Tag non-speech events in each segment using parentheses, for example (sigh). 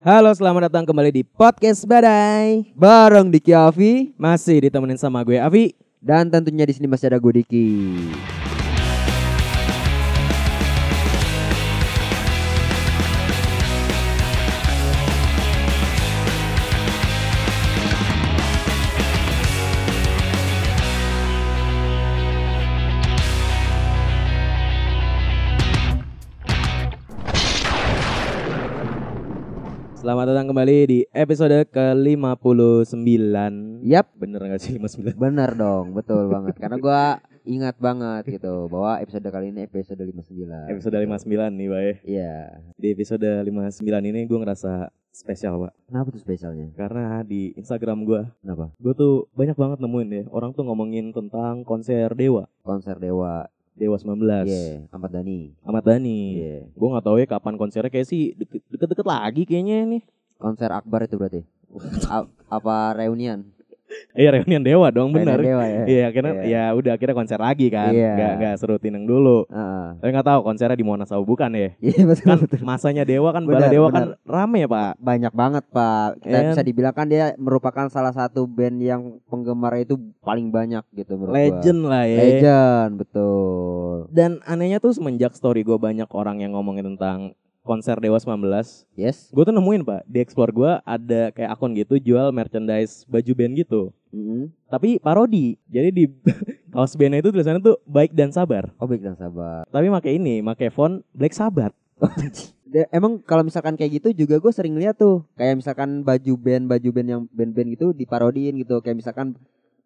Halo, selamat datang kembali di podcast Badai. bareng Diki Avi Masih ditemenin sama gue Avi. dan tentunya di sini masih ada gue Diki. Selamat datang kembali di episode ke-59. Yap, Bener gak sih 59? benar dong, betul banget. Karena gue ingat banget gitu bahwa episode kali ini episode 59. Episode 59 nih, Bay. Iya. Di episode 59 ini gue ngerasa spesial, Pak. Kenapa tuh spesialnya? Karena di Instagram gue, Kenapa? gue tuh banyak banget nemuin ya. Orang tuh ngomongin tentang konser Dewa. Konser Dewa. Dewa 19. Iya, Ahmad Dhani. Ahmad Dhani. Iya. Gue gak tahu ya kapan konsernya. Kayak sih deket- deket-deket lagi kayaknya nih. Konser Akbar itu (laughs) berarti. A- apa reunian? Eh, reunian Dewa dong, bener. Reunian Dewa ya. Iya, akhirnya Iya. ya udah akhirnya konser lagi kan. Iya. Nggak nggak serutin yang dulu. Heeh. Tapi nggak tahu konsernya di Monas atau bukan ya. Iya betul, Kan betul. masanya Dewa kan Bala Benar, Dewa benar. kan rame ya, Pak. Banyak banget pak. Kita Iya. bisa dibilang kan dia merupakan salah satu band yang penggemarnya itu paling banyak gitu menurut gua. Legend lah ya. Legend betul. Dan anehnya tuh semenjak story gue banyak orang yang ngomongin tentang konser Dewa 19 Yes. Gue tuh nemuin pak Di explore gue ada kayak akun gitu Jual merchandise baju band gitu Mm-mm. Tapi parodi Jadi di (laughs) kaos bandnya itu tulisannya tuh Baik dan sabar Oh baik dan sabar. Tapi make ini Make font Black Sabbath Da- Emang kalau misalkan kayak gitu juga gue sering lihat tuh kayak misalkan baju band baju band yang band-band gitu diparodiin gitu kayak misalkan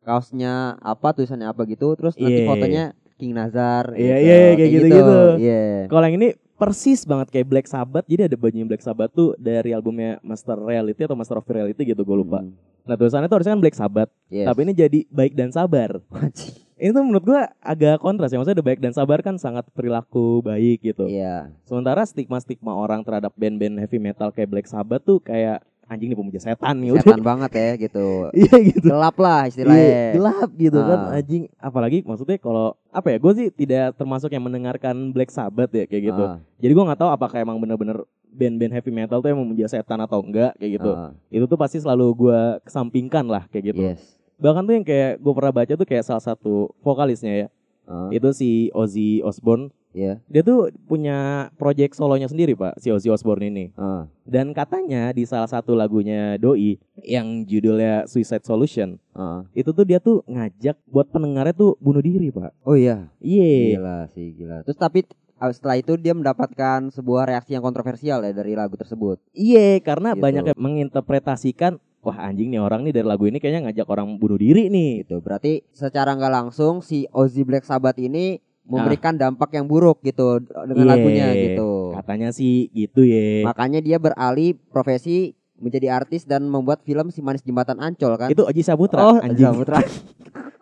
kaosnya apa tulisannya apa gitu terus nanti Iya. fotonya King Nazar. gitu. Iya, iya, kayak gitu-gitu. Iya. Kalau yang ini persis banget kayak Black Sabbath. Jadi ada bajunya Black Sabbath tuh dari albumnya Master Reality atau Master of Reality gitu gue lupa. Mm. Nah tulisannya tuh harusnya kan Black Sabbath, Yes. tapi ini jadi baik dan sabar. Wajib. Ini tuh menurut gue agak kontras ya. Maksudnya ada baik dan sabar kan sangat perilaku baik gitu. Iya. Sementara stigma-stigma orang terhadap band-band heavy metal kayak Black Sabbath tuh kayak anjing nih pemuja setan nih. udah. Setan banget ya gitu. (laughs) Iya gitu. Gelap lah Iya, istilahnya. gelap gitu kan Ah. anjing apalagi maksudnya kalau apa ya gue sih tidak termasuk yang mendengarkan Black Sabbath ya kayak gitu Ah, Jadi gua nggak tahu apakah emang bener-bener band-band heavy metal tuh emang menjadi setan atau enggak kayak gitu. ah, Iya. Itu tuh pasti selalu gua kesampingkan lah kayak gitu. Yes. Bahkan tuh yang kayak gua pernah baca tuh kayak salah satu vokalisnya ya. Ah, Itu si Ozzy Osbourne. Iya. Dia tuh punya project solonya sendiri pak si Ozzy Osbourne ini. ah, Dan katanya di salah satu lagunya Doi yang judulnya Suicide Solution. ah. Itu tuh dia tuh ngajak buat pendengarnya tuh bunuh diri pak. Oh iya. Iya. Gila sih, gila. Terus tapi t- ah, setelah itu dia mendapatkan sebuah reaksi yang kontroversial ya dari lagu tersebut. Iya, karena Gitu. banyak yang menginterpretasikan wah anjing nih orang nih dari lagu ini kayaknya ngajak orang bunuh diri nih. Gitu. Berarti secara nggak langsung si Ozzy Black Sabbath ini memberikan dampak yang buruk gitu d- dengan Iya. lagunya gitu. Katanya sih gitu ya. Makanya dia beralih profesi menjadi artis dan membuat film Si Manis Jembatan Ancol kan. Itu Oji Sabutra Oh, anjing. (laughs) Sabutra.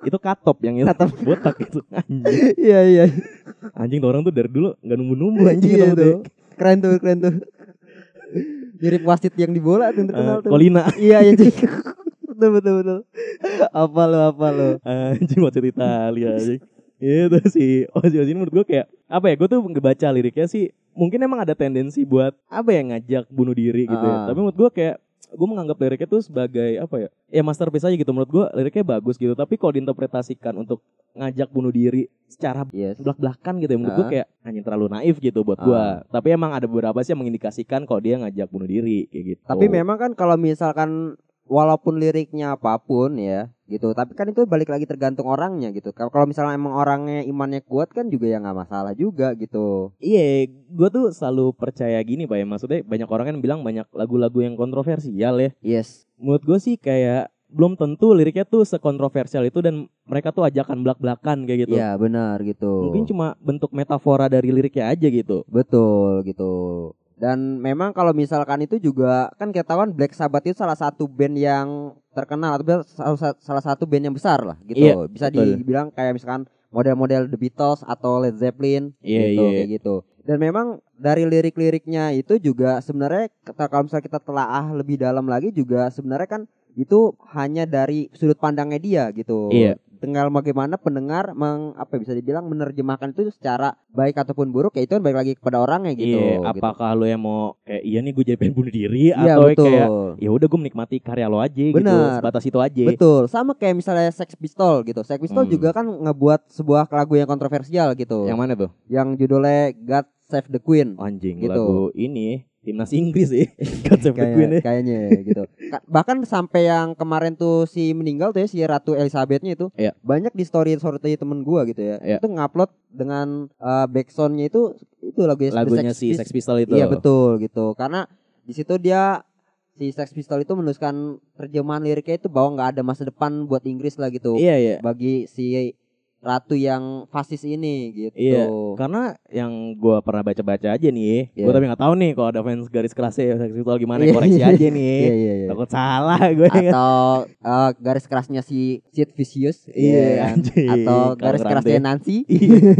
itu katop yang itu. botak itu. Anjing. Iya iya. Anjing tuh orang tuh dari dulu nggak numbu-numbu anjing ketemu tuh. Keren tuh, keren tuh. Mirip wasit yang di bola tuh Eh, Kolina Iya iya. (laughs) betul betul betul. Apa lo apa lo? anjing mau cerita Gitu Italia anjing. Itu si Oji Oji ini Oh, menurut gue kayak apa ya? Gue tuh ngebaca liriknya sih mungkin emang ada tendensi buat apa ya ngajak bunuh diri gitu ya. Ah. Tapi menurut gue kayak gue menganggap liriknya tuh sebagai apa ya ya masterpiece aja gitu menurut gue liriknya bagus gitu tapi kalau diinterpretasikan untuk ngajak bunuh diri secara Yes. belak-belakan gitu ya menurut gue Ah. kayak anjing terlalu naif gitu buat gue tapi emang ada beberapa sih yang mengindikasikan kalau dia ngajak bunuh diri kayak gitu Tapi memang kan kalau misalkan walaupun liriknya apapun ya gitu, tapi kan itu balik lagi tergantung orangnya gitu. Kalau kalau misalnya emang orangnya imannya kuat kan juga ya nggak masalah juga gitu. Iya, gue tuh selalu percaya gini pak ya Maksudnya banyak orang kan bilang banyak lagu-lagu yang kontroversial ya Yes. Menurut gue sih kayak belum tentu liriknya tuh sekontroversial itu Dan mereka tuh ajakan belak-belakan kayak gitu Iya benar gitu. Mungkin cuma bentuk metafora dari liriknya aja gitu Betul gitu. Dan memang kalau misalkan itu juga kan ketahuan Black Sabbath itu salah satu band yang terkenal atau salah- salah satu band yang besar lah gitu. Iya, Bisa betul. dibilang kayak misalkan model-model The Beatles atau Led Zeppelin Iya, gitu iya kayak gitu. Dan memang dari lirik-liriknya itu juga sebenarnya kata- kalau misalnya kita telaah lebih dalam lagi juga sebenarnya kan itu hanya dari sudut pandangnya dia gitu. Iya, tinggal bagaimana pendengar meng apa ya, bisa dibilang menerjemahkan itu secara baik ataupun buruk ya itu baik lagi kepada orangnya gitu. Iya, gitu. apakah lu yang mau kayak iya nih gue jadi pengen bunuh diri Iya, atau betul. kayak ya udah gue menikmati karya lo aja gitu, Benar. sebatas itu aja. Betul, sama kayak misalnya Sex Pistol gitu. Sex Pistol Hmm. juga kan ngebuat sebuah lagu yang kontroversial gitu. Yang Yang, mana tuh? judulnya God Save the Queen. Anjing Gitu. lagu ini timnas Inggris sih. (laughs) God save the Queen (laughs) Kayak- ya. kayaknya gitu. Ka- Bahkan sampai yang kemarin tuh si meninggal tuh ya si Ratu Elizabethnya itu Iya. banyak di story story temen gua gitu ya. Iya. Itu ngupload dengan eh, backsoundnya itu itu lagunya, The Lagunya Sex si Pist- Sex Pistol itu. Iya betul gitu. Karena di situ dia si Sex Pistol itu menuliskan terjemahan liriknya itu bahwa nggak ada masa depan buat Inggris lah gitu. Iya iya. bagi si ratu yang fasis ini gitu. Iya. Karena yang gua pernah baca-baca aja nih, Iya. gua tapi nggak tahu nih kalau ada fans garis kerasnya Sex Pistol gimana Iya, koreksi iya. aja Iya nih. iya iya. (laughs) Takut salah ya kan? gue ingat. Atau eh, garis kerasnya si Sid Vicious. Iya, kan? anjing. Atau Kalau garis ngerantai. kerasnya (laughs) Nancy.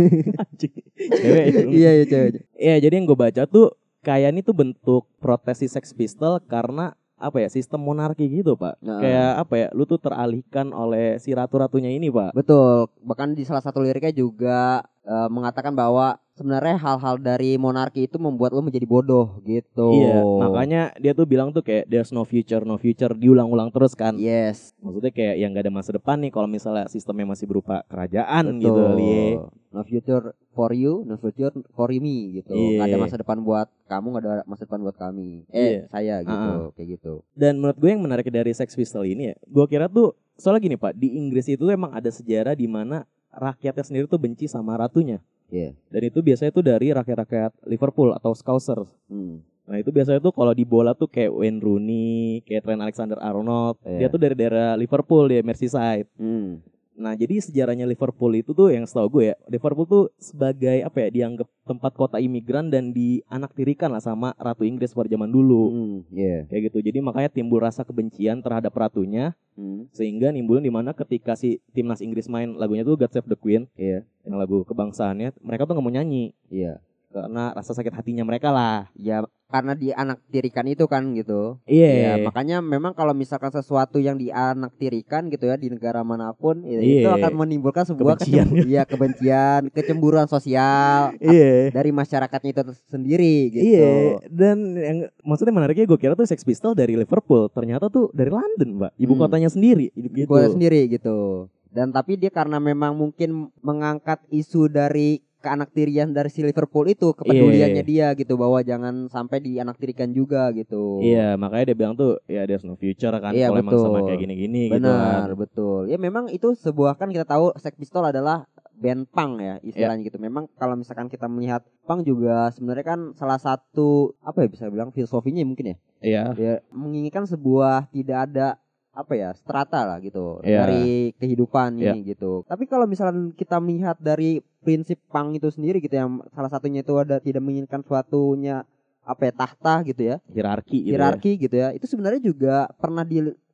(laughs) Anjing. Cewek. Iya iya cewek. Iya jadi yang gue baca tuh kayak ini tuh bentuk protes si Sex Pistol karena apa ya sistem monarki gitu pak Nah. kayak apa ya lu tuh teralihkan oleh si ratu-ratunya ini pak Nah, Betul. Bahkan di salah satu liriknya juga eh, mengatakan bahwa sebenarnya hal-hal dari monarki itu membuat lo menjadi bodoh gitu. iya makanya dia tuh bilang tuh kayak there's no future no future diulang-ulang terus kan Yes. maksudnya kayak yang gak ada masa depan nih kalau misalnya sistemnya masih berupa kerajaan Betul. gitu iya No future for you, no future for me gitu. Iya. Nggak ada masa depan buat kamu, nggak ada masa depan buat kami. Iya. Eh, saya gitu, Ah. kayak gitu. dan menurut gue yang menarik dari Sex Pistol ini ya gue kira tuh soalnya gini pak di Inggris itu tuh emang ada sejarah di mana rakyatnya sendiri tuh benci sama ratunya Iya. dan itu biasanya tuh dari rakyat-rakyat Liverpool atau Scousers Hmm. Nah itu biasanya tuh kalau di bola tuh kayak Wayne Rooney, kayak Trent Alexander-Arnold. Dia Iya. tuh dari daerah Liverpool, dia Merseyside. Hmm. Nah jadi sejarahnya Liverpool itu tuh yang setahu gue ya, Liverpool tuh sebagai apa ya, dianggap tempat kota imigran dan dianaktirikan lah sama Ratu Inggris pada zaman dulu. Hmm. Iya. Kayak gitu, jadi makanya timbul rasa kebencian terhadap ratunya Hmm. Sehingga nimbulin dimana ketika si timnas Inggris main lagunya tuh God Save the Queen Iya. Yang lagu kebangsaannya, mereka tuh gak mau nyanyi Iya. Karena rasa sakit hatinya mereka lah Ya karena dianaktirikan itu kan gitu. Iya Ya, makanya memang kalau misalkan sesuatu yang dianaktirikan gitu ya di negara manapun Iya. ya, itu akan menimbulkan sebuah Kebencian. kecem- iya, kebencian, kecemburuan sosial (laughs) Iya dari masyarakatnya itu sendiri gitu. Iya, dan yang maksudnya menariknya gue kira tuh Sex Pistol dari Liverpool, ternyata tuh dari London, Mbak. Ibu Hmm. kotanya sendiri gitu. Gua sendiri gitu. Dan tapi dia karena memang mungkin mengangkat isu dari keanaktirian dari si Liverpool itu kepeduliannya dia gitu bahwa jangan sampai dianaktirikan juga gitu. Iya, makanya dia bilang tuh ya there's no future kan Iya, kalau emang sama betul. kayak gini-gini gitu kan. Benar, betul. Ya memang itu sebuah kan kita tahu Sex Pistol adalah band punk ya istilahnya gitu. Memang kalau misalkan kita melihat punk juga sebenarnya kan salah satu apa ya bisa bilang filosofinya mungkin ya. Iya. Ya menginginkan sebuah tidak ada apa ya strata lah gitu Iya. dari kehidupan ini gitu. Tapi kalau misalkan kita melihat dari prinsip punk itu sendiri gitu yang salah satunya itu ada tidak menginginkan suatunya apa ya tahta gitu ya Hierarki gitu. ya. hierarki gitu ya. Itu sebenarnya juga pernah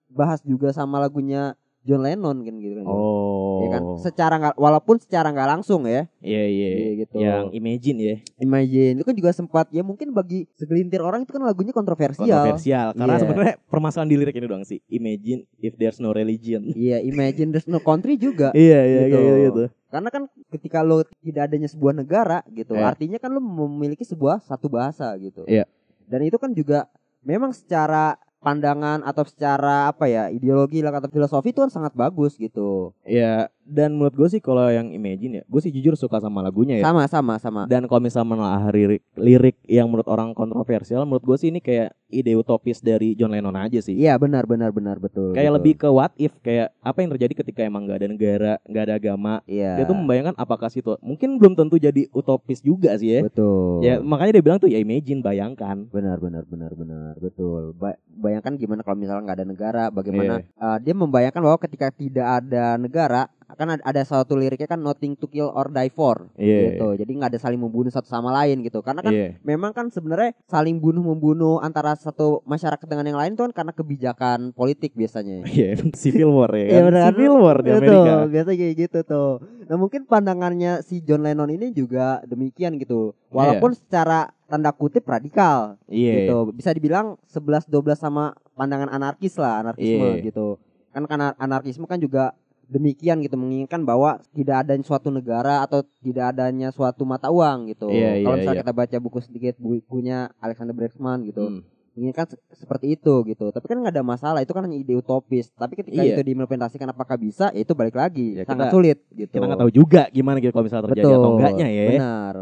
dibahas juga sama lagunya John Lennon kan gitu kan. Oh. Ya kan? Secara nggak walaupun secara nggak langsung ya. Iya, iya. Iya, gitu. Yang imagine ya, Imagine itu kan juga sempat ya mungkin bagi segelintir orang itu kan lagunya kontroversial. kontroversial. Karena Iya. sebenarnya permasalahan di lirik ini doang sih. Imagine if there's no (laughs) religion. Iya, Imagine there's no country juga. Iya, iya, Gitu. kayak gitu. gitu. Karena kan ketika lo tidak adanya sebuah negara gitu, Iya. artinya kan lo memiliki sebuah satu bahasa gitu. Iya. Dan itu kan juga memang secara pandangan atau secara apa ya ideologi lah atau filosofi itu kan sangat bagus gitu. Iya, dan menurut gue sih kalau yang imagine ya, gue sih jujur suka sama lagunya ya. Sama sama sama. Dan kalau misalnya menelaah lirik, lirik yang menurut orang kontroversial, menurut gue sih ini kayak ide utopis dari John Lennon aja sih. Iya benar benar benar betul. kayak betul. lebih ke what if, kayak apa yang terjadi ketika emang nggak ada negara, nggak ada agama. Iya. Dia tuh membayangkan apakah situ, mungkin belum tentu jadi utopis juga sih ya. betul. Ya makanya dia bilang tuh ya imagine, bayangkan. benar benar benar benar betul. Ba- bayangkan gimana kalau misalnya nggak ada negara, bagaimana Iya. eh, dia membayangkan bahwa ketika tidak ada negara akan ad- ada suatu liriknya kan nothing to kill or die for Iya. gitu. Jadi nggak ada saling membunuh satu sama lain gitu. Karena kan Iya. memang kan sebenarnya saling bunuh membunuh antara satu masyarakat dengan yang lain itu kan karena kebijakan politik biasanya. Iya, (laughs) civil war ya. Iya, Kan? benar. Civil war di Iya Amerika. tuh, biasa kayak gitu tuh. Nah mungkin pandangannya si John Lennon ini juga demikian gitu. Walaupun secara tanda kutip radikal Iya. gitu. Bisa dibilang 11-12 sama pandangan anarkis lah, anarkisme Iya. gitu. Kan karena anarkisme kan juga demikian gitu menginginkan bahwa tidak adanya suatu negara atau tidak adanya suatu mata uang gitu. Iya, Kalau iya, misalnya iya. kita baca buku sedikit bukunya Alexander Bregman gitu. Hmm. menginginkan se- seperti itu gitu tapi kan nggak ada masalah itu kan hanya ide utopis tapi ketika Iya. itu diimplementasikan apakah bisa ya itu balik lagi Ya, sangat kita- sulit gitu Kita nggak tahu juga gimana gitu kalau misalnya terjadi atau enggaknya ya. benar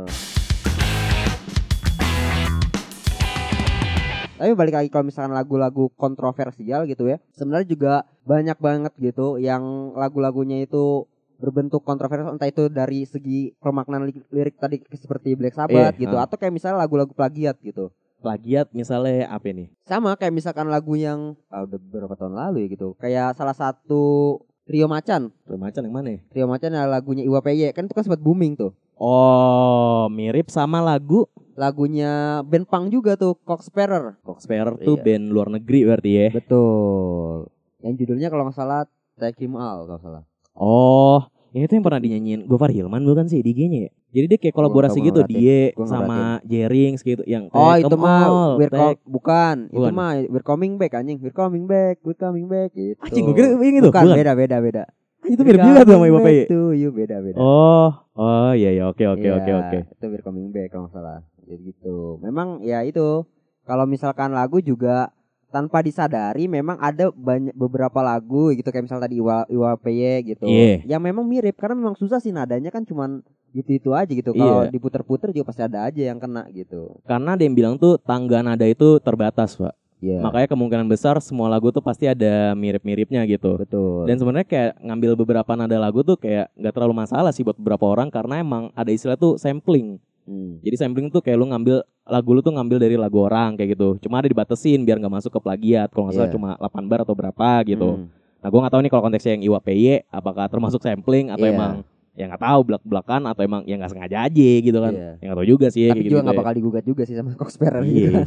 tapi balik lagi kalau misalkan lagu-lagu kontroversial gitu ya sebenarnya juga banyak banget gitu yang lagu-lagunya itu berbentuk kontroversial entah itu dari segi pemaknaan li- lirik tadi seperti Black Sabbath Iya, gitu ah. atau kayak misalnya lagu-lagu plagiat gitu Plagiat misalnya apa nih? sama kayak misalkan lagu yang ah, udah beberapa tahun lalu ya gitu kayak salah satu trio macan Tuh, Macan yang mana? ya? trio macan adalah lagunya Iwa Peye kan itu kan sempat booming tuh Oh, mirip sama lagu lagunya band punk juga tuh Cox Sparrow Coxperer tuh Iya. band luar negeri berarti ya. betul yang judulnya kalau nggak salah Take Him All kalau nggak salah Oh, ini tuh yang pernah dinyanyiin Gofar Hilman bukan sih DG-nya ya? Jadi dia kayak Gua nggak kolaborasi tahu, gua gitu nggak dia Gua nggak sama Jerings gitu yang oh Take itu 'em mah all, we're take- co- bukan itu Bukan. mah we're coming back anjing we're coming back we're coming back gitu Anjing gue kira yang itu bukan, bukan. beda beda beda Anjing, Itu mirip juga tuh sama Iwa (laughs) Peye. itu you beda beda Oh, oh iya iya oke oke Iya, oke oke. Itu biar coming back kalau nggak salah. Jadi gitu. Memang ya itu kalau misalkan lagu juga tanpa disadari memang ada banyak beberapa lagu gitu kayak misal tadi Iwa Iwa Peye gitu. Iya. Yang memang mirip karena memang susah sih nadanya kan cuman gitu-itu aja gitu. Kalau Iya. diputer-puter juga pasti ada aja yang kena gitu. Karena ada yang bilang tuh tangga nada itu terbatas, Pak. Iya. Makanya kemungkinan besar semua lagu tuh pasti ada mirip-miripnya gitu. Betul. Dan sebenarnya kayak ngambil beberapa nada lagu tuh kayak nggak terlalu masalah sih buat beberapa orang karena emang ada istilah tuh sampling. Hmm. Jadi sampling tuh kayak lu ngambil lagu lu tuh ngambil dari lagu orang kayak gitu. Cuma ada dibatesin biar nggak masuk ke plagiat. Kalau nggak salah Iya. cuma 8 bar atau berapa gitu. Hmm. Nah gue nggak tahu nih kalau konteksnya yang Iwa PY apakah termasuk sampling atau Iya. emang ya nggak tahu belak belakan atau emang ya nggak sengaja aja gitu kan. Iya. Ya nggak tahu juga sih. Tapi kayak juga gitu nggak ya. bakal digugat juga sih sama (laughs) Coxperer Iya. gitu.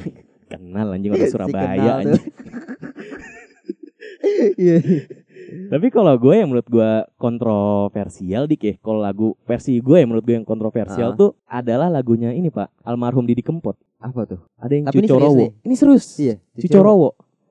Kenal anjing orang (laughs) Si Surabaya kenal tuh. anjing. Iya. Tapi kalau gue yang menurut gue kontroversial dik ya. Kalau lagu versi gue yang menurut gue yang kontroversial Ah. tuh adalah lagunya ini pak. Almarhum Didi Kempot. Apa tuh? Ada yang Tapi ini serius Cucorowo. nih? Ini serius. Iya. Cucorowo.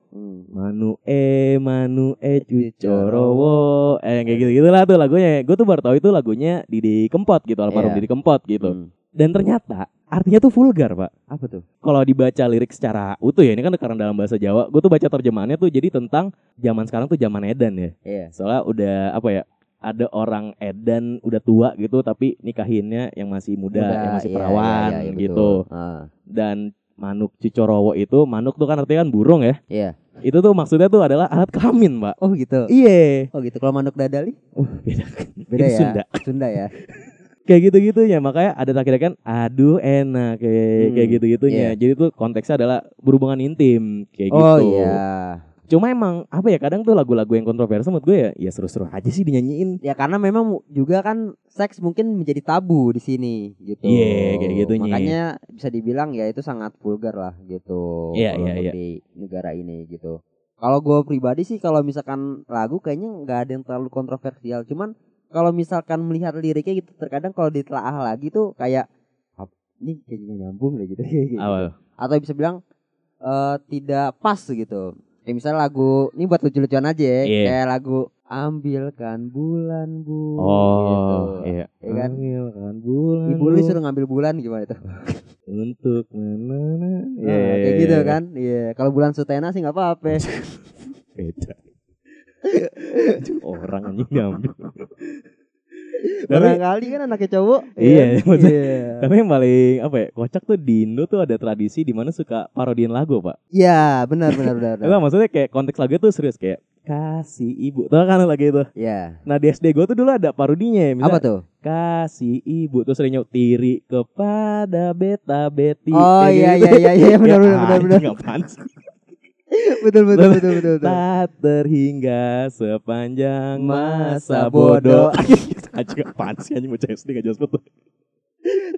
Hmm. Manu e manu e Iya. cucorowo. Eh yang kayak gitu-gitu lah tuh lagunya. Gue tuh baru tahu itu lagunya Didi Kempot gitu. Almarhum Iya. Didi Kempot gitu. Hmm. Dan ternyata artinya tuh vulgar pak. Apa tuh? kalau dibaca lirik secara utuh ya ini kan karena dalam bahasa Jawa gue tuh baca terjemahannya tuh jadi tentang zaman sekarang tuh zaman Edan ya Iya. soalnya udah apa ya ada orang Edan udah tua gitu tapi nikahinnya yang masih muda, yang masih iya, perawan iya, iya, betul. gitu Ah, dan manuk cicorowo itu manuk tuh kan artinya kan burung ya Iya. itu tuh maksudnya tuh adalah alat kelamin pak Oh gitu. iya Oh gitu. Kalau manuk dadali beda Itu beda ya. Sunda. Sunda ya. kayak gitu gitunya makanya ada takdir kan aduh enak kayak Hmm, kayak gitu gitunya jadi tuh konteksnya adalah berhubungan intim kayak oh gitu iya. Cuma emang apa ya kadang tuh lagu-lagu yang kontroversial menurut gue ya ya seru-seru aja sih dinyanyiin. Ya karena memang mu- juga kan seks mungkin menjadi tabu di sini gitu. Iya, kayak gitunya. Makanya bisa dibilang ya itu sangat vulgar lah gitu. Iya, kalau iya, untuk iya. Di negara ini gitu. Kalau gue pribadi sih kalau misalkan lagu kayaknya nggak ada yang terlalu kontroversial. Cuman kalau misalkan melihat liriknya gitu terkadang kalau ditelaah lagi tuh kayak "Ap- ini kayaknya nggak nyambung deh gitu. (laughs) Kayak gitu. Awal. atau bisa bilang eh tidak pas gitu. Kayak misalnya lagu ini buat lucu-lucuan aja ya, Iya. kayak lagu ambilkan bulan bu. Oh, gitu. iya. Ya kan? Ambilkan bulan Ibu lu suruh ngambil bulan gimana itu? untuk menana. Nah, kayak gitu kan. Iya, kalau bulan sutena sih nggak apa-apa. Beda. Orang anjing ngambil. (laughs) Tapi Barangkali kan anaknya cowok. Iya, ya kan? maksudnya- Iya. tapi yang paling apa ya kocak tuh di Indo tuh ada tradisi di mana suka parodian lagu pak. Iya, benar benar benar. benar. Nah, maksudnya kayak konteks lagu tuh serius kayak kasih ibu tau kan lagi itu. Iya. Nah di SD gue tuh dulu ada parodinya ya. misalnya Apa tuh? (laughs) kasih ibu terus sering nyok tiri kepada beta beti Oh iya iya iya iya benar benar benar benar. Betul betul betul betul. betul. tak terhingga sepanjang Masa masa (laughs) bodoh aja apaan sih anjing bocah SD gak jelas betul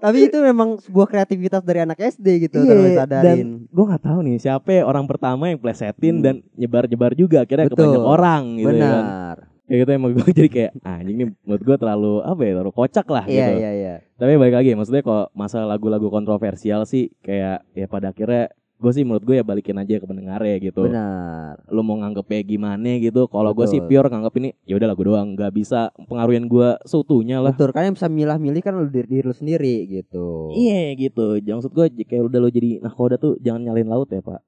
Tapi itu memang sebuah kreativitas dari anak SD gitu Iya, tanpa disadarin. gue nggak tahu nih siapa ya orang pertama yang plesetin Hmm. dan nyebar nyebar juga akhirnya ke Betul. banyak orang gitu ya kan Benar. ya gitu emang gue (laughs) jadi kayak anjing nih menurut gue terlalu apa ya terlalu kocak lah Iya gitu iya iya. Tapi balik lagi maksudnya kalau masalah lagu-lagu kontroversial sih kayak ya pada akhirnya gue sih menurut gue ya balikin aja ke pendengarnya gitu Benar. lu mau nganggepnya gimana gitu kalau gue sih pure Betul. nganggep ini ya udah lagu doang nggak bisa pengaruhin gue seutuhnya lah Betul, kan yang bisa milah-milih kan lu diri, diri lu sendiri gitu. Iya gitu, jangan maksud gue j- kayak udah lo jadi nahkoda tuh jangan nyalain laut ya pak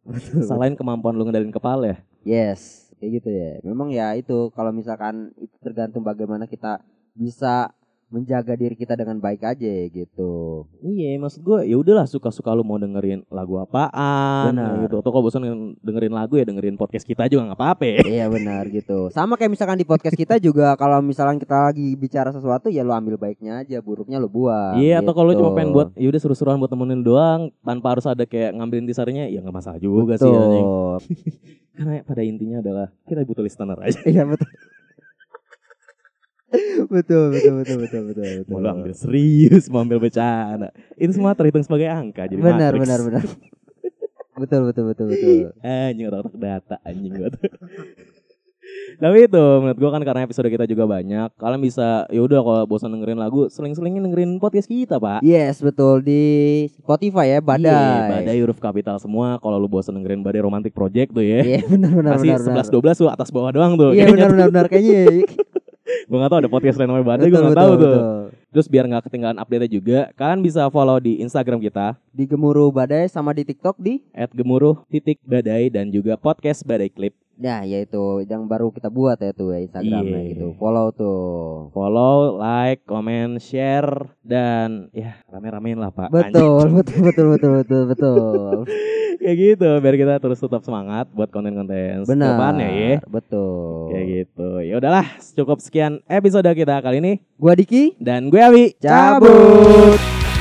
Salahin kemampuan lo ngendalin kepala ya Yes, kayak gitu ya. Memang ya itu kalau misalkan itu tergantung bagaimana kita bisa menjaga diri kita dengan baik aja gitu. Iya maksud gue ya udahlah suka-suka lo mau dengerin lagu apaan ya Benar. gitu Atau kalau bosan dengan- dengerin lagu ya dengerin podcast kita juga nggak apa-apa ya. iya benar gitu. Sama kayak misalkan di podcast kita juga kalau misalkan kita lagi bicara sesuatu ya lu ambil baiknya aja, buruknya lu buang. Iya atau kalau lo gitu. cuma pengen buat ya udah seru-seruan buat temenin doang Tanpa harus ada kayak ngambilin tisarnya ya nggak masalah juga sih anjing. Betul. Karena pada intinya adalah kita butuh listener aja Iya betul. (laughs) betul betul betul betul betul betul. Mau lo ambil serius, mau ambil bercanda Itu semua terhitung sebagai angka jadi benar matrix. benar benar. betul betul betul betul. Eh, Anjing otak-otak data anjing gua tuh. (laughs) Tapi itu menurut gua kan karena episode kita juga banyak, kalian bisa ya udah kalau bosan dengerin lagu, seling-selingin dengerin podcast kita, Pak. (laughs) Yes betul di Spotify ya badai. Iya, badai huruf kapital semua. Kalau lu bosan dengerin Badai Romantic Project tuh ya. Iya benar benar Masih benar. 11 benar. 12 tuh atas bawah doang tuh. Iya Kayaknya benar benar benar kayaknya. ya. (laughs) gua enggak tahu ada podcast lain namanya Badai, Betul, gua enggak betul, tahu tuh. betul. Terus biar nggak ketinggalan update juga, kalian bisa follow di Instagram kita Di Gemuruh Badai sama di TikTok di @gemuruh titik badai dan juga podcast badai clip. Nah, yaitu yang baru kita buat ya tuh ya Instagramnya Iya. gitu. Follow tuh. Follow, like, comment, share dan ya rame-ramein lah Pak. Anjing. Betul, (laughs) betul, betul, betul, betul, betul. (laughs) Kayak gitu biar kita terus tetap semangat buat konten-konten Benar. kedepannya ya. Betul. Kayak gitu. Ya udahlah, cukup sekian episode kita kali ini Gua Diki. dan gue Awi. Cabut.